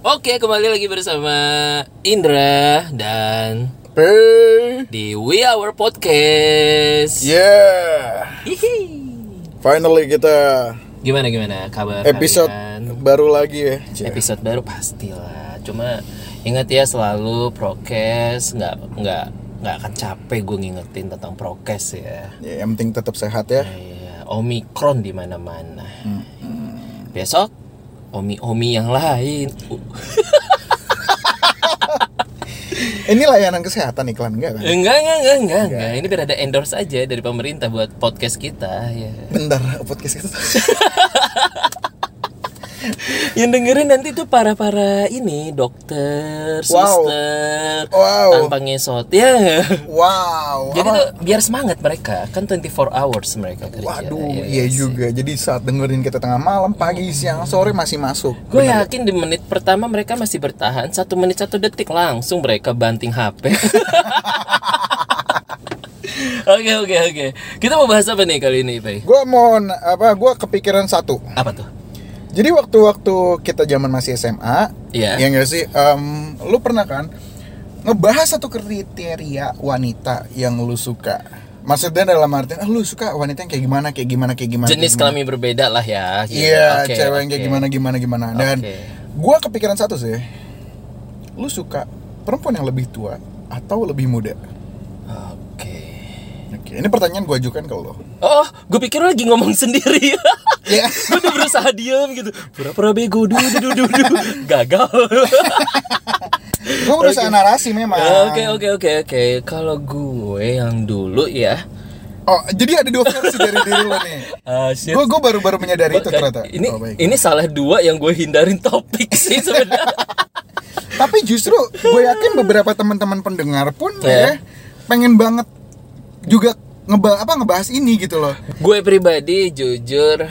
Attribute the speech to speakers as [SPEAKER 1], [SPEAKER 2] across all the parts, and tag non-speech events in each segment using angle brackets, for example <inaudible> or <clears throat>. [SPEAKER 1] Oke, kembali lagi bersama Indra dan
[SPEAKER 2] Pay.
[SPEAKER 1] di We Our Podcast.
[SPEAKER 2] Yeah. Finally kita
[SPEAKER 1] Gimana gimana kabar
[SPEAKER 2] episode
[SPEAKER 1] kalian?
[SPEAKER 2] baru lagi ya. Cie.
[SPEAKER 1] Episode baru pastilah. Cuma ingat ya selalu prokes, nggak nggak nggak akan capek gue ngingetin tentang prokes ya.
[SPEAKER 2] Ya, yang penting tetap sehat ya.
[SPEAKER 1] Iya, Omikron di mana-mana. Besok omi-omi yang lain. Uh,
[SPEAKER 2] Ini layanan kesehatan iklan enggak kan?
[SPEAKER 1] Enggak, enggak, enggak, enggak, enggak. Ini berada endorse aja dari pemerintah buat podcast kita ya.
[SPEAKER 2] Bentar, podcast kita. <laughs>
[SPEAKER 1] Yang dengerin nanti tuh para-para ini dokter,
[SPEAKER 2] Wow.
[SPEAKER 1] suster,
[SPEAKER 2] Wow.
[SPEAKER 1] tanpa ngesot ya.
[SPEAKER 2] Wow.
[SPEAKER 1] Jadi
[SPEAKER 2] apa-
[SPEAKER 1] tuh biar semangat mereka, kan 24 hours mereka kerja. ya.
[SPEAKER 2] Waduh, iya juga. Jadi saat dengerin kita tengah malam, pagi, siang, sore masih masuk.
[SPEAKER 1] Gue yakin di menit pertama mereka masih bertahan satu menit satu detik langsung mereka banting HP. <laughs> Oke oke oke. Kita mau bahas apa nih kali ini, Pak?
[SPEAKER 2] Gua mau na- apa? Gua kepikiran satu.
[SPEAKER 1] Apa tuh?
[SPEAKER 2] Jadi waktu-waktu kita zaman masih SMA,
[SPEAKER 1] Iya.
[SPEAKER 2] ya nggak sih? Em, lu pernah kan ngebahas satu kriteria wanita yang lu suka? Maksudnya dalam artian, ah, lu suka wanita yang kayak gimana, kayak gimana, kayak gimana?
[SPEAKER 1] Jenis
[SPEAKER 2] kayak gimana.
[SPEAKER 1] kelamin berbeda lah ya. gitu.
[SPEAKER 2] Iya,
[SPEAKER 1] Oke,
[SPEAKER 2] cewek yang kayak
[SPEAKER 1] oke.
[SPEAKER 2] gimana, gimana, gimana. Dan
[SPEAKER 1] Oke.
[SPEAKER 2] gua kepikiran satu sih, lu suka perempuan yang lebih tua atau lebih muda?
[SPEAKER 1] Oke.
[SPEAKER 2] Oke, ini pertanyaan gua ajukan ke
[SPEAKER 1] <laughs>
[SPEAKER 2] lu.
[SPEAKER 1] Oh, gue pikir lu lagi ngomong <laughs> sendiri.
[SPEAKER 2] Iya.
[SPEAKER 1] gue udah berusaha diem gitu. Pura-pura bego dulu, dulu, dulu, gagal.
[SPEAKER 2] Gua berusaha narasi memang.
[SPEAKER 1] Ya, Oke, oke, oke, oke. Kalau gue yang dulu ya.
[SPEAKER 2] Oh, jadi ada dua versi dari diri lu nih.
[SPEAKER 1] Ah, shit.
[SPEAKER 2] Gue gue baru-baru menyadari itu
[SPEAKER 1] Bahkan
[SPEAKER 2] ternyata.
[SPEAKER 1] kan Ini
[SPEAKER 2] Oh, baik.
[SPEAKER 1] ini salah dua yang gue hindarin topik sih sebenarnya.
[SPEAKER 2] Tapi justru gue yakin beberapa teman-teman pendengar pun
[SPEAKER 1] Iya.
[SPEAKER 2] ya pengen banget juga ngeba apa ngebahas ini gitu loh.
[SPEAKER 1] gue pribadi jujur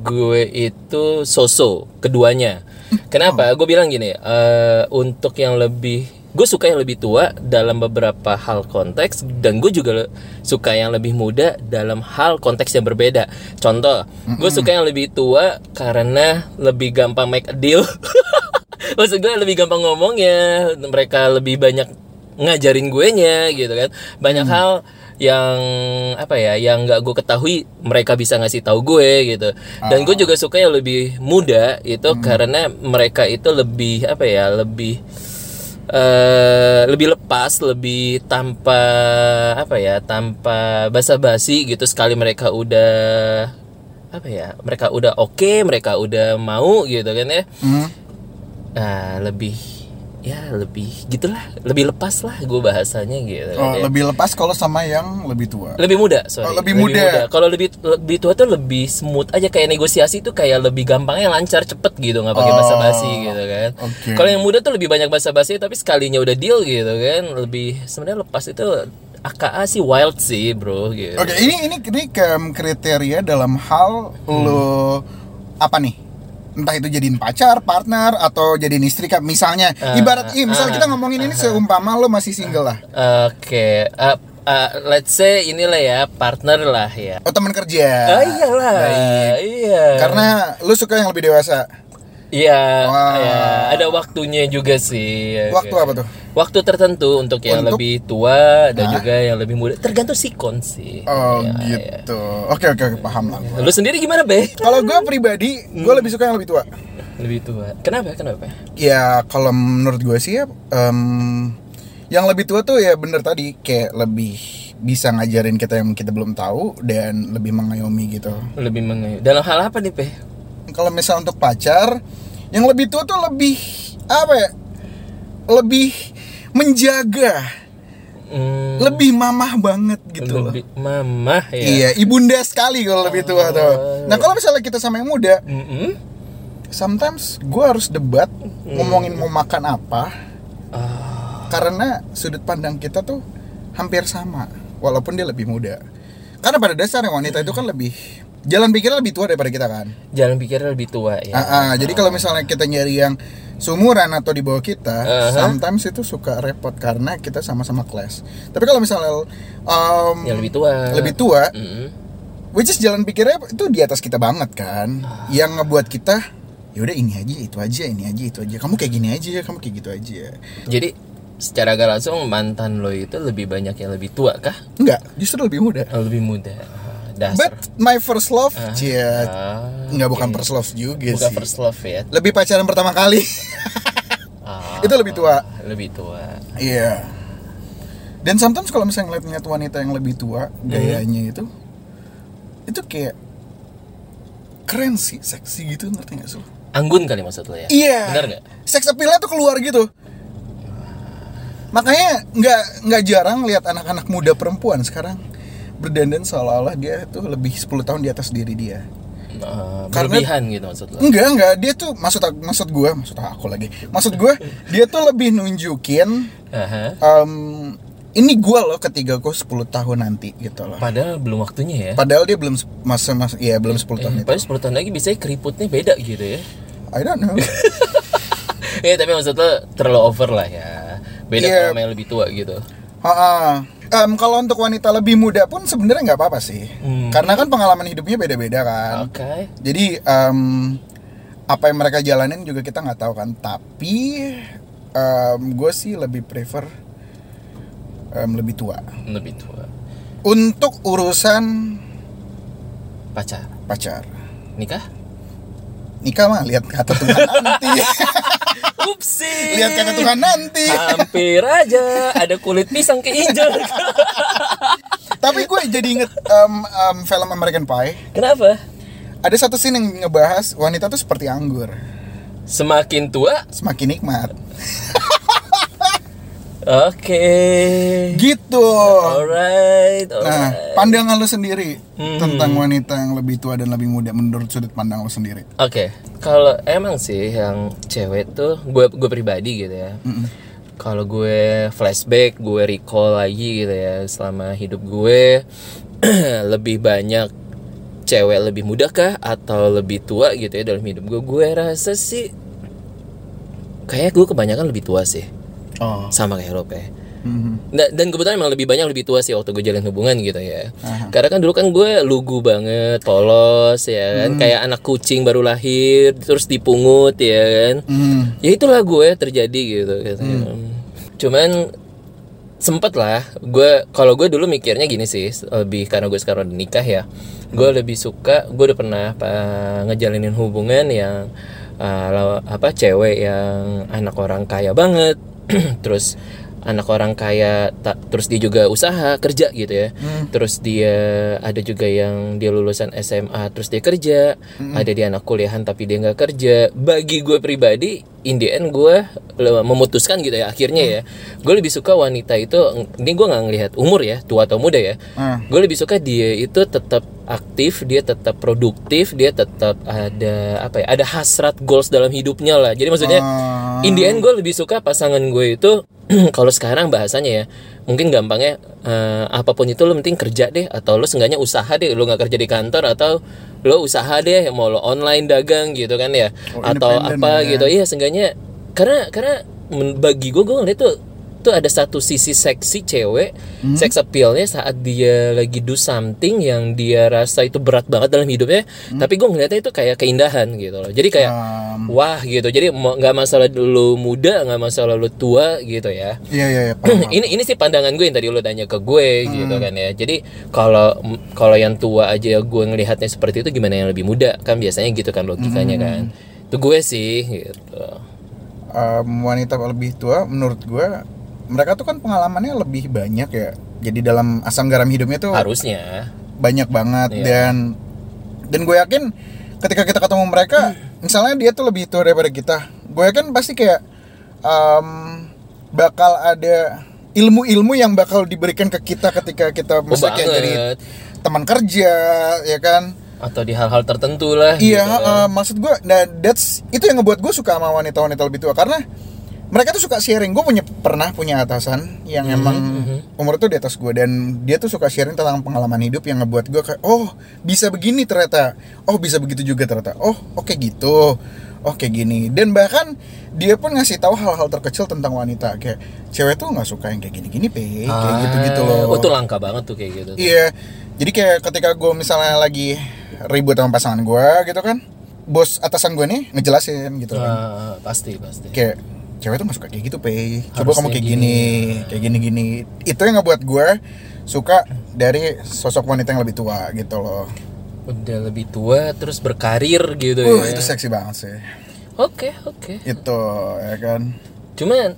[SPEAKER 1] gue itu soso keduanya. Kenapa? Gue bilang gini, eh, untuk yang lebih gue suka yang lebih tua dalam beberapa hal konteks dan gue juga le- suka yang lebih muda dalam hal konteks yang berbeda. Contoh, gue suka yang lebih tua karena lebih gampang make a deal. <laughs> Maksud gue lebih gampang ngomongnya, mereka lebih banyak ngajarin gue nya gitu kan banyak hal yang apa ya yang nggak gue ketahui mereka bisa ngasih tahu gue gitu dan gue juga suka yang lebih muda itu karena mereka itu lebih apa ya lebih eh lebih lepas lebih tanpa apa ya tanpa basa-basi gitu sekali mereka udah apa ya mereka udah oke mereka udah mau gitu kan ya
[SPEAKER 2] Hmm.
[SPEAKER 1] Nah, lebih ya lebih gitulah, lebih lepas lah gue bahasanya gitu.
[SPEAKER 2] Oh,
[SPEAKER 1] ya.
[SPEAKER 2] lebih lepas kalau sama yang lebih tua.
[SPEAKER 1] Lebih muda, sorry.
[SPEAKER 2] Oh, lebih muda.
[SPEAKER 1] Kalau lebih lebih tua tuh lebih smooth aja kayak negosiasi tuh kayak lebih gampangnya lancar cepet gitu nggak pakai
[SPEAKER 2] Oh,
[SPEAKER 1] basa-basi gitu kan.
[SPEAKER 2] oke.
[SPEAKER 1] Kalau yang muda tuh lebih banyak basa-basi tapi sekalinya udah deal gitu kan, lebih sebenarnya lepas itu AKA sih wild sih, Bro gitu.
[SPEAKER 2] Oke, ini ini ini kem- kriteria dalam hal
[SPEAKER 1] Hmm.
[SPEAKER 2] lo apa nih? Entah itu jadiin pacar, partner, atau jadiin istri kan misalnya.
[SPEAKER 1] Ah,
[SPEAKER 2] Ibarat ih, misal kita ngomongin ini seumpama lo masih single lah.
[SPEAKER 1] Oke, eh, eh, let's say inilah ya partner lah ya.
[SPEAKER 2] Oh, teman kerja.
[SPEAKER 1] Ah, iyalah. Iya.
[SPEAKER 2] Karena lu suka yang lebih dewasa.
[SPEAKER 1] Iya,
[SPEAKER 2] Wah.
[SPEAKER 1] ya, ada waktunya juga sih. ya,
[SPEAKER 2] Waktu
[SPEAKER 1] gitu.
[SPEAKER 2] apa tuh?
[SPEAKER 1] Waktu tertentu untuk yang
[SPEAKER 2] Untuk?
[SPEAKER 1] lebih tua dan juga yang lebih muda. Tergantung sikon sih.
[SPEAKER 2] Oh
[SPEAKER 1] Ya, ya.
[SPEAKER 2] gitu. Oke oke oke, paham lah. gua.
[SPEAKER 1] Lu sendiri gimana, Be?
[SPEAKER 2] Kalau gue pribadi, gue
[SPEAKER 1] Hmm.
[SPEAKER 2] lebih suka yang lebih tua.
[SPEAKER 1] Lebih tua. Kenapa? Kenapa?
[SPEAKER 2] Ya kalau menurut gue sih, ya, em, yang lebih tua tuh ya bener tadi kayak lebih bisa ngajarin kita yang kita belum tahu dan lebih mengayomi gitu.
[SPEAKER 1] Lebih mengayomi. Dalam hal apa nih, Pe?
[SPEAKER 2] Kalau misal untuk pacar, yang lebih tua tuh lebih apa ya? Lebih menjaga,
[SPEAKER 1] Hmm,
[SPEAKER 2] lebih mamah banget gitu loh.
[SPEAKER 1] lebih mamah ya.
[SPEAKER 2] Iya, ibunda sekali kalau lebih
[SPEAKER 1] Ah.
[SPEAKER 2] tua tuh. Nah kalau misalnya kita sama yang muda,
[SPEAKER 1] Mm-mm.
[SPEAKER 2] sometimes gue harus debat ngomongin mau makan apa
[SPEAKER 1] Ah,
[SPEAKER 2] karena sudut pandang kita tuh hampir sama walaupun dia lebih muda karena pada dasarnya wanita itu kan lebih jalan pikirnya lebih tua daripada kita kan
[SPEAKER 1] jalan pikirnya lebih tua ya.
[SPEAKER 2] Ah, ah, jadi kalau misalnya kita nyari yang sumuran atau di bawah kita
[SPEAKER 1] Aha.
[SPEAKER 2] sometimes itu suka repot karena kita sama-sama kelas tapi kalau misalnya um,
[SPEAKER 1] Yang Ya, lebih tua.
[SPEAKER 2] lebih tua
[SPEAKER 1] Mm-mm.
[SPEAKER 2] which is jalan pikirnya itu di atas kita banget kan yang ngebuat kita ya udah ini aja itu aja ini aja itu aja kamu kayak gini aja kamu kayak gitu aja
[SPEAKER 1] Jadi secara gak langsung mantan lo itu lebih banyak yang lebih tua kah?
[SPEAKER 2] enggak justru lebih muda
[SPEAKER 1] Atau Lebih muda. Ah, Dasar.
[SPEAKER 2] but my first love cia
[SPEAKER 1] Ah,
[SPEAKER 2] nggak bukan
[SPEAKER 1] oke.
[SPEAKER 2] first love juga
[SPEAKER 1] Bukan
[SPEAKER 2] Iya sih
[SPEAKER 1] first love ya.
[SPEAKER 2] lebih pacaran pertama kali
[SPEAKER 1] Ah,
[SPEAKER 2] <laughs> Itu lebih tua.
[SPEAKER 1] Lebih tua.
[SPEAKER 2] iya dan sometimes kalau misalnya ngeliat-ngeliat wanita yang lebih tua
[SPEAKER 1] Hmm.
[SPEAKER 2] gayanya itu itu kayak keren sih seksi gitu ngerti gak sih lo?
[SPEAKER 1] Anggun kali maksud lo ya?
[SPEAKER 2] Iya.
[SPEAKER 1] Benar nggak?
[SPEAKER 2] Sex appeal-nya tuh keluar gitu. Makanya nggak nggak jarang lihat anak-anak muda perempuan sekarang berdandan seolah-olah dia tuh lebih 10 tahun di atas diri dia.
[SPEAKER 1] Ah,
[SPEAKER 2] Karena- Iya.
[SPEAKER 1] berlebihan gitu maksud lo?
[SPEAKER 2] Enggak, enggak, dia tuh maksud aku- maksud gua, maksud aku lagi. Maksud gua dia tuh lebih nunjukin
[SPEAKER 1] Aha.
[SPEAKER 2] em, ini gua loh ketiga gua 10 tahun nanti gitu loh.
[SPEAKER 1] Padahal belum waktunya ya.
[SPEAKER 2] Padahal dia belum se- masa masa ya belum 10
[SPEAKER 1] Eh,
[SPEAKER 2] tahun itu.
[SPEAKER 1] Padahal 10 tahun lagi biasanya keriputnya beda gitu ya. <laughs>
[SPEAKER 2] I don't know.
[SPEAKER 1] Ya tapi maksud lo terlalu over lah ya. Beda
[SPEAKER 2] Iya.
[SPEAKER 1] kalau sama yang lebih tua gitu.
[SPEAKER 2] Ha-ha. Em, kalau untuk wanita lebih muda pun sebenarnya nggak apa-apa sih,
[SPEAKER 1] Hmm. Ah.
[SPEAKER 2] karena kan pengalaman hidupnya beda-beda kan.
[SPEAKER 1] Oke.
[SPEAKER 2] Jadi em, apa yang mereka jalanin juga kita nggak tahu kan. Tapi gue sih lebih prefer em, lebih tua
[SPEAKER 1] Lebih tua.
[SPEAKER 2] untuk urusan
[SPEAKER 1] Pacar.
[SPEAKER 2] pacar. <laughs>
[SPEAKER 1] Nikah?
[SPEAKER 2] Nikah mah lihat kata Tuhan nanti,
[SPEAKER 1] Upsi.
[SPEAKER 2] lihat kata Tuhan nanti.
[SPEAKER 1] Hampir aja ada kulit pisang
[SPEAKER 2] <laughs>
[SPEAKER 1] keinjak.
[SPEAKER 2] Tapi gue jadi inget em, em, film American Pie.
[SPEAKER 1] Kenapa?
[SPEAKER 2] Ada satu scene yang ngebahas wanita tuh seperti anggur,
[SPEAKER 1] Semakin tua,
[SPEAKER 2] semakin nikmat.
[SPEAKER 1] oke.
[SPEAKER 2] gitu
[SPEAKER 1] Alright,
[SPEAKER 2] nah
[SPEAKER 1] alright.
[SPEAKER 2] pandangan lu sendiri
[SPEAKER 1] Hmm.
[SPEAKER 2] tentang wanita yang lebih tua dan lebih muda menurut sudut pandang lu sendiri
[SPEAKER 1] Oke, kalau emang sih yang cewek tuh gue gue pribadi gitu ya. Kalau gue flashback, gue recall lagi gitu ya selama hidup gue <clears throat> lebih banyak cewek lebih muda kah atau lebih tua gitu ya dalam hidup gue. Gue rasa sih kayak gue kebanyakan lebih tua sih.
[SPEAKER 2] oh
[SPEAKER 1] Sama kayak Rob ya.
[SPEAKER 2] Hmm.
[SPEAKER 1] Nah, dan kebetulan emang lebih banyak lebih tua sih waktu gue jalin hubungan gitu ya. Karena kan dulu kan gue lugu banget, polos ya kan, kayak anak kucing baru lahir, terus dipungut ya kan.
[SPEAKER 2] Hmm.
[SPEAKER 1] Ya itulah gue terjadi gitu. gitu. Cuman sempet lah, gue kalau gue dulu mikirnya gini sih, lebih karena gue sekarang udah nikah ya. Gue lebih suka, gue udah pernah apa, ngejalinin hubungan yang uh, law- apa cewek yang anak orang kaya banget, <clears throat> terus anak orang kaya ta- terus dia juga usaha kerja gitu ya terus dia ada juga yang dia lulusan SMA terus dia kerja ada dia anak kuliahan tapi dia nggak kerja bagi gue pribadi in the end gue le- memutuskan gitu ya akhirnya ya gue lebih suka wanita itu ini gue nggak ngelihat umur ya tua atau muda ya
[SPEAKER 2] Ah.
[SPEAKER 1] gue lebih suka dia itu tetap aktif dia tetap produktif dia tetap ada apa ya ada hasrat goals dalam hidupnya lah jadi maksudnya
[SPEAKER 2] Ah.
[SPEAKER 1] in the end gue lebih suka pasangan gue itu <clears throat> kalau sekarang bahasanya ya mungkin gampangnya eh, apapun itu lo penting kerja deh atau lo seenggaknya usaha deh lo nggak kerja di kantor atau lo usaha deh mau lo online dagang gitu kan ya
[SPEAKER 2] Oh,
[SPEAKER 1] atau
[SPEAKER 2] independen
[SPEAKER 1] apa
[SPEAKER 2] ya.
[SPEAKER 1] gitu iya seenggaknya karena karena men- bagi gue gue ngeliat tuh tuh ada satu sisi seksi cewek
[SPEAKER 2] Hmm?
[SPEAKER 1] seks appealnya saat dia lagi do something yang dia rasa itu berat banget dalam hidupnya
[SPEAKER 2] Hmm?
[SPEAKER 1] tapi gue ngeliatnya itu kayak keindahan gitu loh jadi kayak
[SPEAKER 2] Em,
[SPEAKER 1] Wah gitu. Jadi mo- nggak masalah lu muda, nggak masalah lu tua gitu ya.
[SPEAKER 2] iya iya iya paham,
[SPEAKER 1] <laughs>
[SPEAKER 2] paham.
[SPEAKER 1] ini ini sih pandangan gue yang tadi lu tanya ke gue gitu
[SPEAKER 2] Hmm.
[SPEAKER 1] kan ya. Jadi kalau kalau yang tua aja gue ngelihatnya seperti itu gimana yang lebih muda? Kan biasanya gitu kan logikanya
[SPEAKER 2] Hmm.
[SPEAKER 1] kan. Itu gue sih gitu.
[SPEAKER 2] Em, Um, wanita lebih tua menurut gua mereka tuh kan pengalamannya lebih banyak ya jadi dalam asam garam hidupnya tuh
[SPEAKER 1] Harusnya.
[SPEAKER 2] banyak banget dan dan gue yakin ketika kita ketemu mereka misalnya dia tuh lebih tua daripada kita gue yakin pasti kayak em, bakal ada ilmu-ilmu yang bakal diberikan ke kita ketika kita maksudnya kayak dari
[SPEAKER 1] banget.
[SPEAKER 2] teman kerja ya kan
[SPEAKER 1] Atau di hal-hal tertentu lah.
[SPEAKER 2] iya
[SPEAKER 1] gitu.
[SPEAKER 2] eh, maksud gue nah that's itu yang ngebuat gue suka sama wanita-wanita lebih tua karena mereka tuh suka sharing gue punya pernah punya atasan yang
[SPEAKER 1] Hmm,
[SPEAKER 2] emang umur tuh di atas gue dan dia tuh suka sharing tentang pengalaman hidup yang ngebuat gue kayak oh bisa begini ternyata oh bisa begitu juga ternyata oh oke gitu oke gini dan bahkan dia pun ngasih tahu hal-hal terkecil tentang wanita kayak cewek tuh nggak suka yang kayak gini-gini pe kayak
[SPEAKER 1] Ah,
[SPEAKER 2] gitu-gitu loh
[SPEAKER 1] oh, itu langka banget tuh kayak gitu.
[SPEAKER 2] Iya. Jadi kayak ketika gue misalnya lagi ribut sama pasangan gue gitu kan, bos atasan gue nih ngejelasin gitu kan.
[SPEAKER 1] Ah, pasti pasti
[SPEAKER 2] kayak cewek tuh masuk kayak gitu pe
[SPEAKER 1] Harusnya
[SPEAKER 2] coba
[SPEAKER 1] gitu.
[SPEAKER 2] kamu kayak
[SPEAKER 1] gini.
[SPEAKER 2] gini, kayak gini gini itu yang ngebuat gue suka dari sosok wanita yang lebih tua gitu loh
[SPEAKER 1] udah lebih tua terus berkarir gitu
[SPEAKER 2] uh,
[SPEAKER 1] ya
[SPEAKER 2] itu seksi banget sih
[SPEAKER 1] oke oke
[SPEAKER 2] itu ya kan
[SPEAKER 1] cuman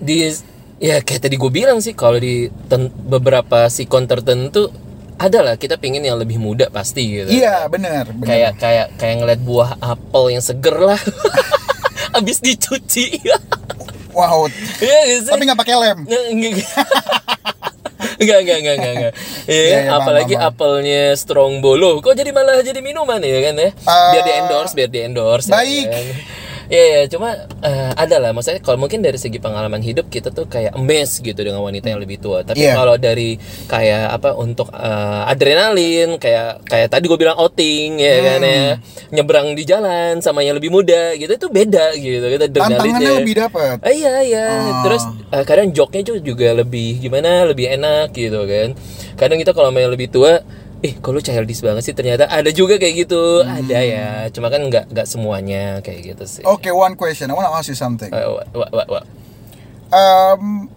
[SPEAKER 1] di ya kayak tadi gue bilang sih kalau di ten- beberapa sikon tertentu adalah kita pingin yang lebih muda pasti gitu
[SPEAKER 2] iya bener bener
[SPEAKER 1] kayak kayak kayak ngeliat buah apel yang seger lah <laughs> abis dicuci <laughs>
[SPEAKER 2] wow
[SPEAKER 1] Iya nggak sih?
[SPEAKER 2] tapi nggak pakai lem
[SPEAKER 1] Nggak, nggak, <laughs> Nggak, nggak, nggak, nggak, nggak. Iya,
[SPEAKER 2] Iya, iya,
[SPEAKER 1] apalagi
[SPEAKER 2] paham,
[SPEAKER 1] apelnya strong bolo. Kok jadi malah jadi minuman ya kan ya? Biar di endorse, biar di endorse.
[SPEAKER 2] Ah. baik.
[SPEAKER 1] Ya, kan? Iya, iya, cuma eh, ada lah. Maksudnya kalau mungkin dari segi pengalaman hidup kita tuh kayak emes gitu dengan wanita yang lebih tua. Tapi
[SPEAKER 2] Iya.
[SPEAKER 1] kalau dari kayak apa untuk eh, adrenalin, kayak kayak tadi gue bilang outing ya kan ya,
[SPEAKER 2] Hmm.
[SPEAKER 1] nyebrang di jalan sama yang lebih muda gitu itu beda gitu. Kita
[SPEAKER 2] tantangannya
[SPEAKER 1] adrenalinnya.
[SPEAKER 2] lebih dapat
[SPEAKER 1] Ah, iya iya. Terus eh, kadang joknya juga, juga lebih gimana lebih enak gitu kan. Kadang kita kalau main lebih tua, eh kalau childish banget sih ternyata ada juga kayak gitu. Ada ya.
[SPEAKER 2] Hmm.
[SPEAKER 1] Cuma kan nggak nggak semuanya kayak gitu sih.
[SPEAKER 2] Oke, one question. I wanna ask you something.
[SPEAKER 1] Eh, wa- wa- wa- wa.
[SPEAKER 2] Um,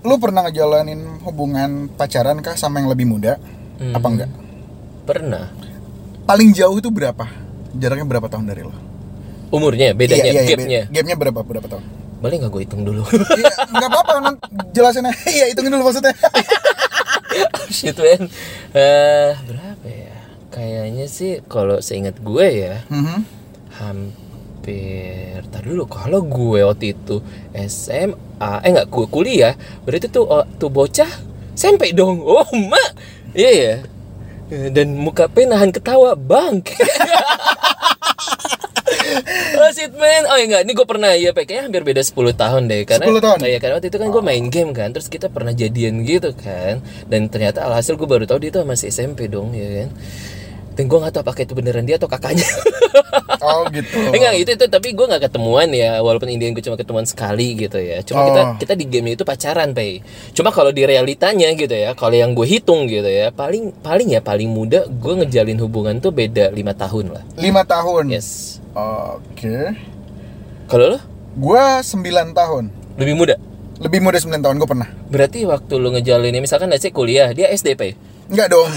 [SPEAKER 2] lu pernah ngejalanin hubungan pacaran kah sama yang lebih muda?
[SPEAKER 1] Hmm.
[SPEAKER 2] Apa enggak?
[SPEAKER 1] Pernah
[SPEAKER 2] Paling jauh itu berapa? Jaraknya berapa tahun dari lo?
[SPEAKER 1] umurnya bedanya
[SPEAKER 2] Iya, iya, iya,
[SPEAKER 1] gapnya.
[SPEAKER 2] be- Gapnya berapa? Berapa tahun?
[SPEAKER 1] Boleh nggak gue hitung dulu? <laughs>
[SPEAKER 2] Iya, nggak apa-apa. nanti Jelasin aja. <laughs> Iya, hitungin dulu
[SPEAKER 1] <laughs>
[SPEAKER 2] maksudnya.
[SPEAKER 1] Oh, Shit man. Eh, berapa ya? Kayaknya sih kalau seingat gue ya.
[SPEAKER 2] Mhm.
[SPEAKER 1] hampir tar dulu kalau gue waktu itu SMA eh nggak gue kuliah berarti tuh oh, tuh bocah sampai dong oh mak iya ya Eh, dan muka P nahan ketawa bang <laughs> Oh shit man Oh enggak Ini gue pernah ya Pe. Kayaknya hampir beda 10 tahun deh Karena
[SPEAKER 2] 10 tahun?
[SPEAKER 1] Iya karena waktu itu kan gue main game kan Terus kita pernah jadian gitu kan Dan ternyata alhasil gue baru tahu Dia tuh masih SMP dong ya kan Dan gue gak tau apakah itu beneran dia atau kakaknya <laughs>
[SPEAKER 2] Oh gitu.
[SPEAKER 1] Eh, Enggak itu itu tapi gue nggak ketemuan ya walaupun Indian gue cuma ketemuan sekali gitu ya. Cuma
[SPEAKER 2] Oh.
[SPEAKER 1] kita kita di game itu pacaran pay. Cuma kalau di realitanya gitu ya kalau yang gue hitung gitu ya paling paling ya paling muda gue ngejalin hubungan tuh beda lima tahun lah.
[SPEAKER 2] Lima tahun.
[SPEAKER 1] Yes.
[SPEAKER 2] Oke.
[SPEAKER 1] Kalau lo
[SPEAKER 2] Gua sembilan tahun.
[SPEAKER 1] lebih muda
[SPEAKER 2] Lebih muda sembilan tahun gue pernah.
[SPEAKER 1] berarti waktu lo ngejalinnya misalkan Nasib kuliah dia SD pay.
[SPEAKER 2] Enggak dong. <laughs>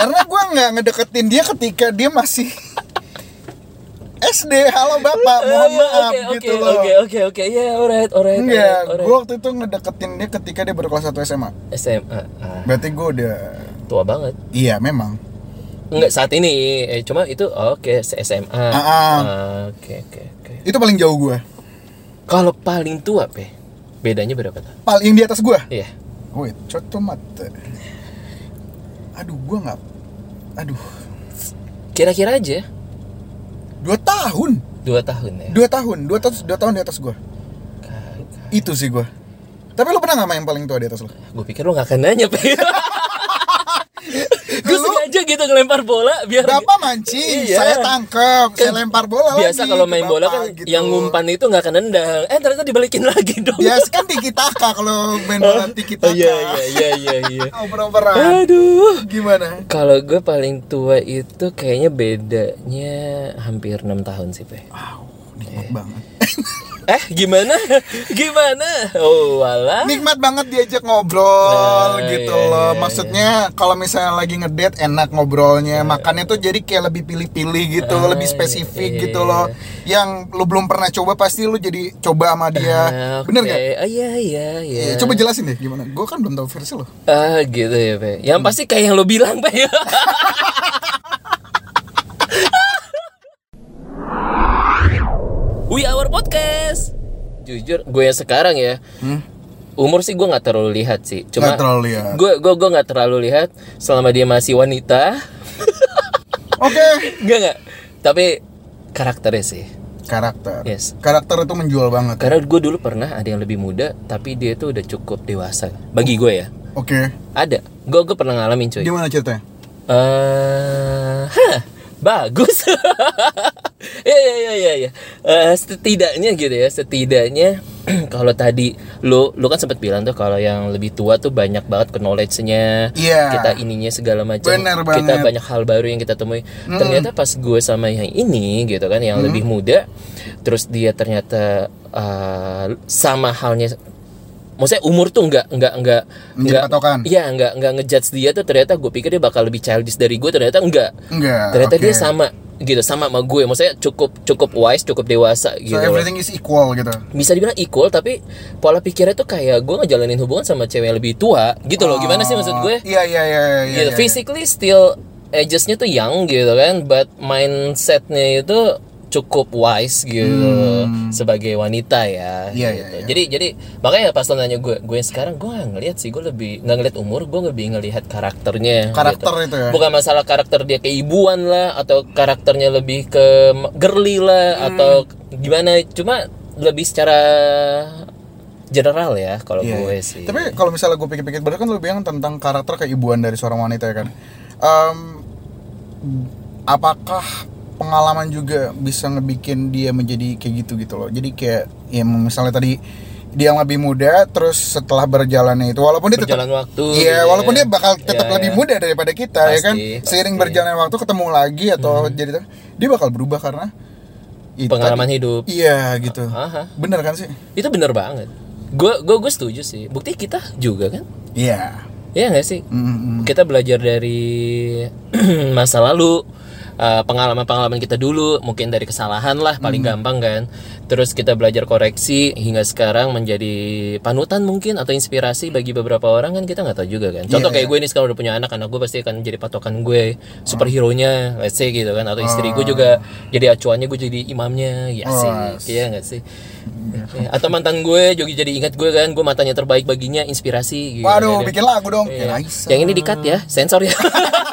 [SPEAKER 2] Karena gua nggak ngedeketin dia ketika dia masih <laughs> SD. Halo
[SPEAKER 1] <laughs>
[SPEAKER 2] bapak, mohon
[SPEAKER 1] Eh,
[SPEAKER 2] maaf
[SPEAKER 1] ya, Oke
[SPEAKER 2] gitu Iya,
[SPEAKER 1] oke
[SPEAKER 2] loh.
[SPEAKER 1] oke oke oke ya alright alright.
[SPEAKER 2] Enggak,
[SPEAKER 1] alright, alright.
[SPEAKER 2] gue waktu itu ngedeketin dia ketika dia baru kelas 1 SMA.
[SPEAKER 1] SMA ah,
[SPEAKER 2] Berarti gue udah
[SPEAKER 1] tua banget.
[SPEAKER 2] iya memang.
[SPEAKER 1] Enggak saat ini eh, cuma itu oh, oke se- SMA.
[SPEAKER 2] ah.
[SPEAKER 1] Ah, Oke oke oke.
[SPEAKER 2] Itu paling jauh gue.
[SPEAKER 1] Kalau paling tua, Pe, bedanya berapa tahun?
[SPEAKER 2] Paling di atas gue.
[SPEAKER 1] Iya.
[SPEAKER 2] Wait, coto mata. Aduh, gue nggak. Aduh,
[SPEAKER 1] Kira-kira aja
[SPEAKER 2] dua tahun,
[SPEAKER 1] dua tahun ya.
[SPEAKER 2] dua tahun, dua tahun, dua tahun di atas gue. Itu sih gue. Tapi lu pernah nggak main paling tua di atas lu?
[SPEAKER 1] Gue pikir lo gak akan nanya, Pe.
[SPEAKER 2] <laughs>
[SPEAKER 1] Gue
[SPEAKER 2] Lu-
[SPEAKER 1] sengaja gitu ngelempar bola biar
[SPEAKER 2] Bapak mancing,
[SPEAKER 1] Iya.
[SPEAKER 2] saya tangkep, saya
[SPEAKER 1] Kan
[SPEAKER 2] lempar bola
[SPEAKER 1] biasa
[SPEAKER 2] lagi
[SPEAKER 1] kalau
[SPEAKER 2] ke
[SPEAKER 1] main bola
[SPEAKER 2] bapak,
[SPEAKER 1] kan
[SPEAKER 2] gitu.
[SPEAKER 1] yang ngumpan itu nggak akan nendang. Eh ternyata dibalikin <laughs> lagi dong.
[SPEAKER 2] Biasa kan tiki taka kalau main
[SPEAKER 1] <laughs>
[SPEAKER 2] bola tiki taka.
[SPEAKER 1] Oh, Iya iya iya iya iya. <laughs>
[SPEAKER 2] Oper-operan.
[SPEAKER 1] Aduh.
[SPEAKER 2] Gimana?
[SPEAKER 1] Kalau gue paling tua itu kayaknya bedanya hampir enam tahun sih, Pe. Iya.
[SPEAKER 2] Nikmat banget.
[SPEAKER 1] Eh, gimana? <laughs> gimana? Oh, wala.
[SPEAKER 2] Nikmat banget diajak ngobrol
[SPEAKER 1] Nah,
[SPEAKER 2] gitu
[SPEAKER 1] iya,
[SPEAKER 2] loh.
[SPEAKER 1] iya, Iya.
[SPEAKER 2] Maksudnya kalau misalnya lagi ngedate enak ngobrolnya, makannya tuh jadi kayak lebih pilih-pilih gitu,
[SPEAKER 1] Ah,
[SPEAKER 2] lebih spesifik
[SPEAKER 1] iya,
[SPEAKER 2] gitu
[SPEAKER 1] iya.
[SPEAKER 2] loh. Yang lu belum pernah coba pasti lu jadi coba sama dia.
[SPEAKER 1] Ah,
[SPEAKER 2] ya, Bener
[SPEAKER 1] oke.
[SPEAKER 2] gak?
[SPEAKER 1] Ah, iya iya iya.
[SPEAKER 2] Ya, coba jelasin deh gimana. Gue kan belum tahu versi lo.
[SPEAKER 1] Ah gitu ya Pe. Yang
[SPEAKER 2] Hmm.
[SPEAKER 1] pasti kayak yang lo bilang Pe. <laughs> We Our Podcast. Jujur, gue yang sekarang ya. Umur sih gue nggak terlalu lihat sih. Cuma
[SPEAKER 2] Hmm? Nggak terlalu lihat.
[SPEAKER 1] Gue gue gue nggak terlalu lihat selama dia masih wanita. <laughs>
[SPEAKER 2] Oke.
[SPEAKER 1] Enggak enggak. Tapi karakternya sih.
[SPEAKER 2] Karakter.
[SPEAKER 1] Yes.
[SPEAKER 2] Karakter itu menjual banget.
[SPEAKER 1] Karena gue dulu pernah ada yang lebih muda, tapi dia tuh udah cukup dewasa. Bagi
[SPEAKER 2] Hmm.
[SPEAKER 1] gue ya.
[SPEAKER 2] Oke.
[SPEAKER 1] Ada. Gue gue pernah ngalamin cuy.
[SPEAKER 2] Gimana ceritanya?
[SPEAKER 1] eh hah, bagus. <laughs> ya ya ya ya ya. Eh, setidaknya <clears throat> gitu ya, setidaknya kalau tadi lu lu kan sempat bilang tuh kalau yang lebih tua tuh banyak banget knowledge-nya,
[SPEAKER 2] Iya.
[SPEAKER 1] kita ininya segala macam.
[SPEAKER 2] Bener
[SPEAKER 1] Kita
[SPEAKER 2] banget.
[SPEAKER 1] banyak hal baru yang kita temui. Ternyata pas gue sama yang ini gitu kan yang lebih muda, terus dia ternyata eh, sama halnya Maksudnya umur tuh nggak nggak nggak
[SPEAKER 2] Menjadi
[SPEAKER 1] nggak-
[SPEAKER 2] patokan.
[SPEAKER 1] Iya nggak nggak ngejudge dia tuh ternyata gue pikir dia bakal lebih childish dari gue ternyata enggak.
[SPEAKER 2] Enggak.
[SPEAKER 1] Ternyata
[SPEAKER 2] Nah, oke.
[SPEAKER 1] dia sama gitu sama sama gue. Maksudnya cukup cukup wise, cukup dewasa
[SPEAKER 2] So
[SPEAKER 1] gitu.
[SPEAKER 2] everything is equal gitu.
[SPEAKER 1] Bisa dibilang equal tapi pola pikirnya tuh kayak gue ngejalanin hubungan sama cewek yang lebih tua gitu loh. Gimana sih maksud gue?
[SPEAKER 2] Iya iya iya iya. iya,
[SPEAKER 1] gitu.
[SPEAKER 2] iya.
[SPEAKER 1] Physically still agesnya tuh young gitu kan, but mindsetnya itu cukup wise gitu sebagai wanita ya.
[SPEAKER 2] Hmm. Iya,
[SPEAKER 1] gitu.
[SPEAKER 2] iya, iya.
[SPEAKER 1] Jadi jadi makanya pas lo nanya gue, gue yang sekarang gue nggak ngelihat sih, gue lebih nggak ngelihat umur, gue lebih ngelihat karakternya.
[SPEAKER 2] Karakter
[SPEAKER 1] gitu.
[SPEAKER 2] itu ya?
[SPEAKER 1] Bukan masalah karakter dia keibuan lah, atau karakternya lebih ke m- girly lah,
[SPEAKER 2] Hmm.
[SPEAKER 1] atau gimana. Cuma lebih secara general ya kalau
[SPEAKER 2] Iya,
[SPEAKER 1] gue
[SPEAKER 2] iya.
[SPEAKER 1] sih.
[SPEAKER 2] Tapi kalau misalnya gue pikir-pikir bener kan lu bilang tentang karakter keibuan dari seorang wanita ya kan. Em, apakah pengalaman juga bisa ngebikin dia menjadi kayak gitu gitu loh. Jadi kayak ya misalnya tadi dia yang lebih muda terus setelah berjalannya itu walaupun dia tetap
[SPEAKER 1] Berjalan waktu. gitu
[SPEAKER 2] Iya,
[SPEAKER 1] ya.
[SPEAKER 2] walaupun dia bakal tetap
[SPEAKER 1] Iya,
[SPEAKER 2] lebih
[SPEAKER 1] iya.
[SPEAKER 2] muda daripada kita ya
[SPEAKER 1] Pasti, Hmm.
[SPEAKER 2] kan. Seiring
[SPEAKER 1] pasti.
[SPEAKER 2] berjalannya waktu ketemu lagi atau jadi dia bakal berubah karena itu
[SPEAKER 1] pengalaman
[SPEAKER 2] tadi.
[SPEAKER 1] hidup.
[SPEAKER 2] Iya gitu.
[SPEAKER 1] Aha.
[SPEAKER 2] Bener kan sih?
[SPEAKER 1] Itu bener banget. Gue gue gue setuju sih. Bukti kita juga kan?
[SPEAKER 2] Iya. hmm,
[SPEAKER 1] Iya nggak sih?
[SPEAKER 2] Mm-mm.
[SPEAKER 1] Kita belajar dari <clears throat> masa lalu, eh, pengalaman-pengalaman kita dulu, mungkin dari kesalahan lah paling gampang kan. Terus kita belajar koreksi hingga sekarang menjadi panutan mungkin atau inspirasi bagi beberapa orang kan kita nggak tahu juga kan. Contoh kayak gue ini sekarang udah punya anak, anak gue pasti akan jadi patokan gue, superhero nya, let's say gitu kan. Atau istri gue juga jadi acuannya, gue jadi imamnya, ya sih, iya nggak sih? Ya, Atau mantan gue juga jadi ingat gue kan, gue matanya terbaik baginya, inspirasi. gitu.
[SPEAKER 2] Waduh, bikin lagu dong. Ya,
[SPEAKER 1] Yang ini dikat ya, sensor ya.